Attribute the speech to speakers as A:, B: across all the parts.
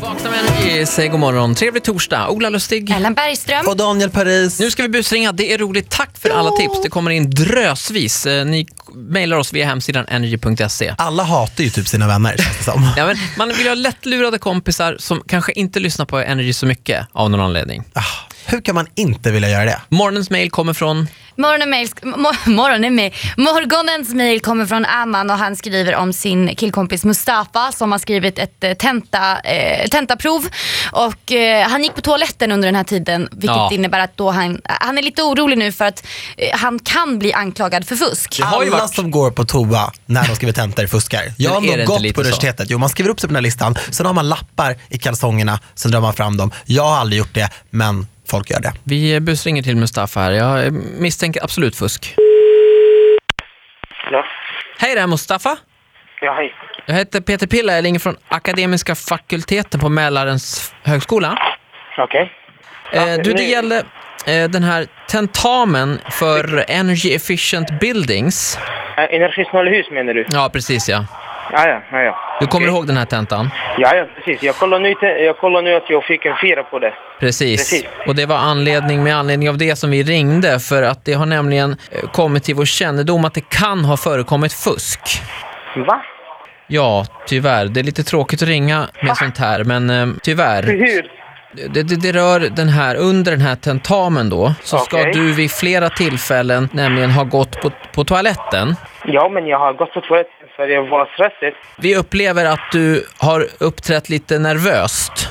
A: Vakna med energi, säg god morgon. Trevlig torsdag. Ola Lustig.
B: Ellen Bergström.
C: Och Daniel Paris.
A: Nu ska vi busringa. Det är roligt. Tack för alla tips. Det kommer in drösvis. Eh, Ni mejlar oss via hemsidan energy.se.
C: Alla hatar ju typ sina vänner känns det som.
A: Ja, men man vill ju ha lättlurade kompisar som kanske inte lyssnar på Energy så mycket av någon anledning.
C: Ah, Hur kan man inte vilja göra det?
A: Morgonens mejl kommer från...
B: Morgonen mail, mo- morgonen mail. Morgonens mail kommer från Amman och han skriver om sin killkompis Mustafa som har skrivit ett eh, tenta, eh, tentaprov. Och, eh, han gick på toaletten under den här tiden vilket
A: Ja.
B: innebär att då han, han är lite orolig nu för att eh, han kan bli anklagad för fusk.
A: har ju
C: Alla
A: varit-
C: som går på toa när de skriver tentor fuskar. Jag har
A: är det
C: nog
A: inte
C: gått
A: lite
C: på
A: så?
C: universitetet. Jo, man skriver upp sig på den här listan, sen har man lappar i kalsongerna, sen drar man fram dem. Jag har aldrig gjort det, men folk gör det.
A: Vi eh, busringer till Mustafa här. Jag eh, misstänker absolut fusk.
D: Ja,
A: Hej där Mustafa.
D: ja hej.
A: Jag heter Peter Pilla. Jag ringer från Akademiska fakulteten på Mälarens högskola.
D: Okej.
A: Eh, du, det
D: nu-
A: gällde eh, den här tentamen för Energy Efficient Buildings.
D: Eh, Energisnåla hus menar du?
A: Ja, precis ja.
D: Ja, ja, ja. ja.
A: Du kommer
D: Okej.
A: ihåg den här tentan?
D: Ja, ja, precis. Jag kollar, nu, te- jag kollar nu att jag fick en fyra på det.
A: Precis.
D: Precis.
A: Och det var anledning, med anledning av det som vi ringde, för att det har nämligen eh, kommit till vår kännedom att det kan ha förekommit fusk.
D: Va?
A: Ja, tyvärr. Det är lite tråkigt att ringa med sånt här, men eh, tyvärr.
D: Hur?
A: Det, det, det rör den här, under den här tentamen då, så ska
D: Okej.
A: du vid flera tillfällen nämligen ha gått på, på toaletten.
D: Ja, men jag har gått på toaletten för jag var stressad.
A: Vi upplever att du har uppträtt lite nervöst.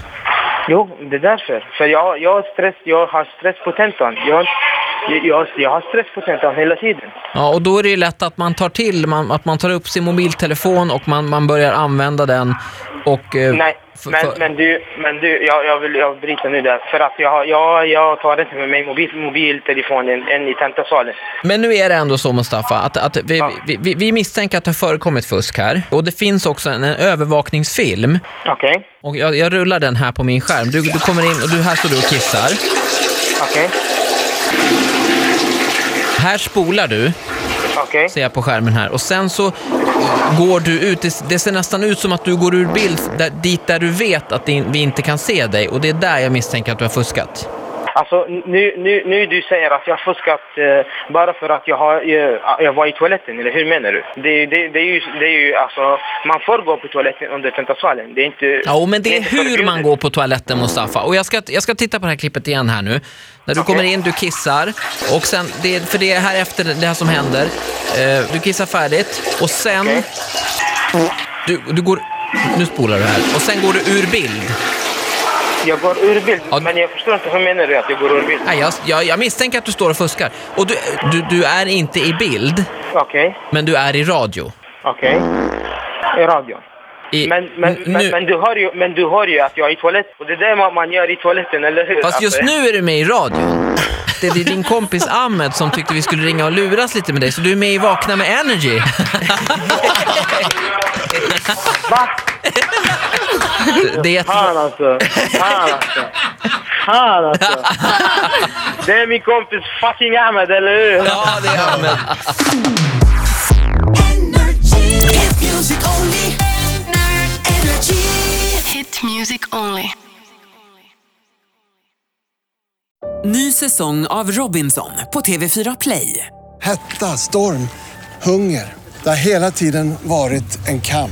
D: Jo, det är därför. För jag, jag, har, stress, jag har stress på tentan. Jag, jag, jag har stress på tentan hela tiden.
A: Ja, och då är det ju lätt att man tar till, man, att man tar upp sin mobiltelefon och man, man börjar använda den. Och, eh,
D: Nej,
A: för-
D: men,
A: för-
D: men du, men du jag, jag vill jag bryta nu där. För att jag, har- jag, jag tar inte med mig mobil, mobiltelefonen än i tentasalen.
A: men nu är det ändå så Mustafa, att, att vi, vi, vi, vi misstänker att det har förekommit fusk här. Och det finns också en, en övervakningsfilm.
D: Okej,
A: Och jag, jag rullar den här på min skärm. Du, du kommer in och du, här står du och kissar.
D: okej,
A: Här spolar du,
D: okej.
A: ser jag på skärmen här. Och sen så eh, går du ut. Det, det ser nästan ut som att du går ur bild där, dit där du vet att din, vi inte kan se dig. Och det är där jag misstänker att du har fuskat.
D: Alltså nu, nu, nu du säger att jag har fuskat eh, bara för att jag, har, eh, jag var i toaletten, eller hur menar du? Det, det, det är ju, det är ju alltså, man får gå på toaletten under tentasalen. Det är inte...
A: Ja, men det är
D: inte
A: hur
D: förbjudet.
A: man går på toaletten Mustafa. Och jag ska, jag ska titta på det här klippet igen här nu. När du
D: Okej.
A: kommer in, du kissar. Och sen, det, är- för det är här efter det här som händer. Eh, du kissar färdigt och sen...
D: Okej.
A: Du, du går... Nu spolar du här. Och sen går du ur bild.
D: Jag går ur bild,
A: Ja.
D: men jag förstår inte hur menar du att jag går ur bild?
A: Nej, jag, jag, jag misstänker att du står och fuskar. Och du, du, du är inte i bild,
D: Okej,
A: men du är i radio.
D: okej. I radion.
A: I,
D: Men, men,
A: n-
D: men, men, du hör ju, men du hör ju att jag är i toaletten. Och det är det man, man gör i toaletten, eller hur?
A: Fast
D: Alltså,
A: just nu är du med i radion. Det är din kompis Ahmed som tyckte vi skulle ringa och luras lite med dig, så du är med i Vakna med Energy.
D: Va?
A: Det är ett...
D: Fan alltså. Fan alltså. Fan alltså. Det är min kompis fucking Ahmed, eller hur?
A: Ja, det är Ahmed.
E: Hit music only. Energy.
F: Hit music only.
G: Ny säsong av Robinson på TV4 Play.
H: Hetta, storm, hunger. Det har hela tiden varit en kamp.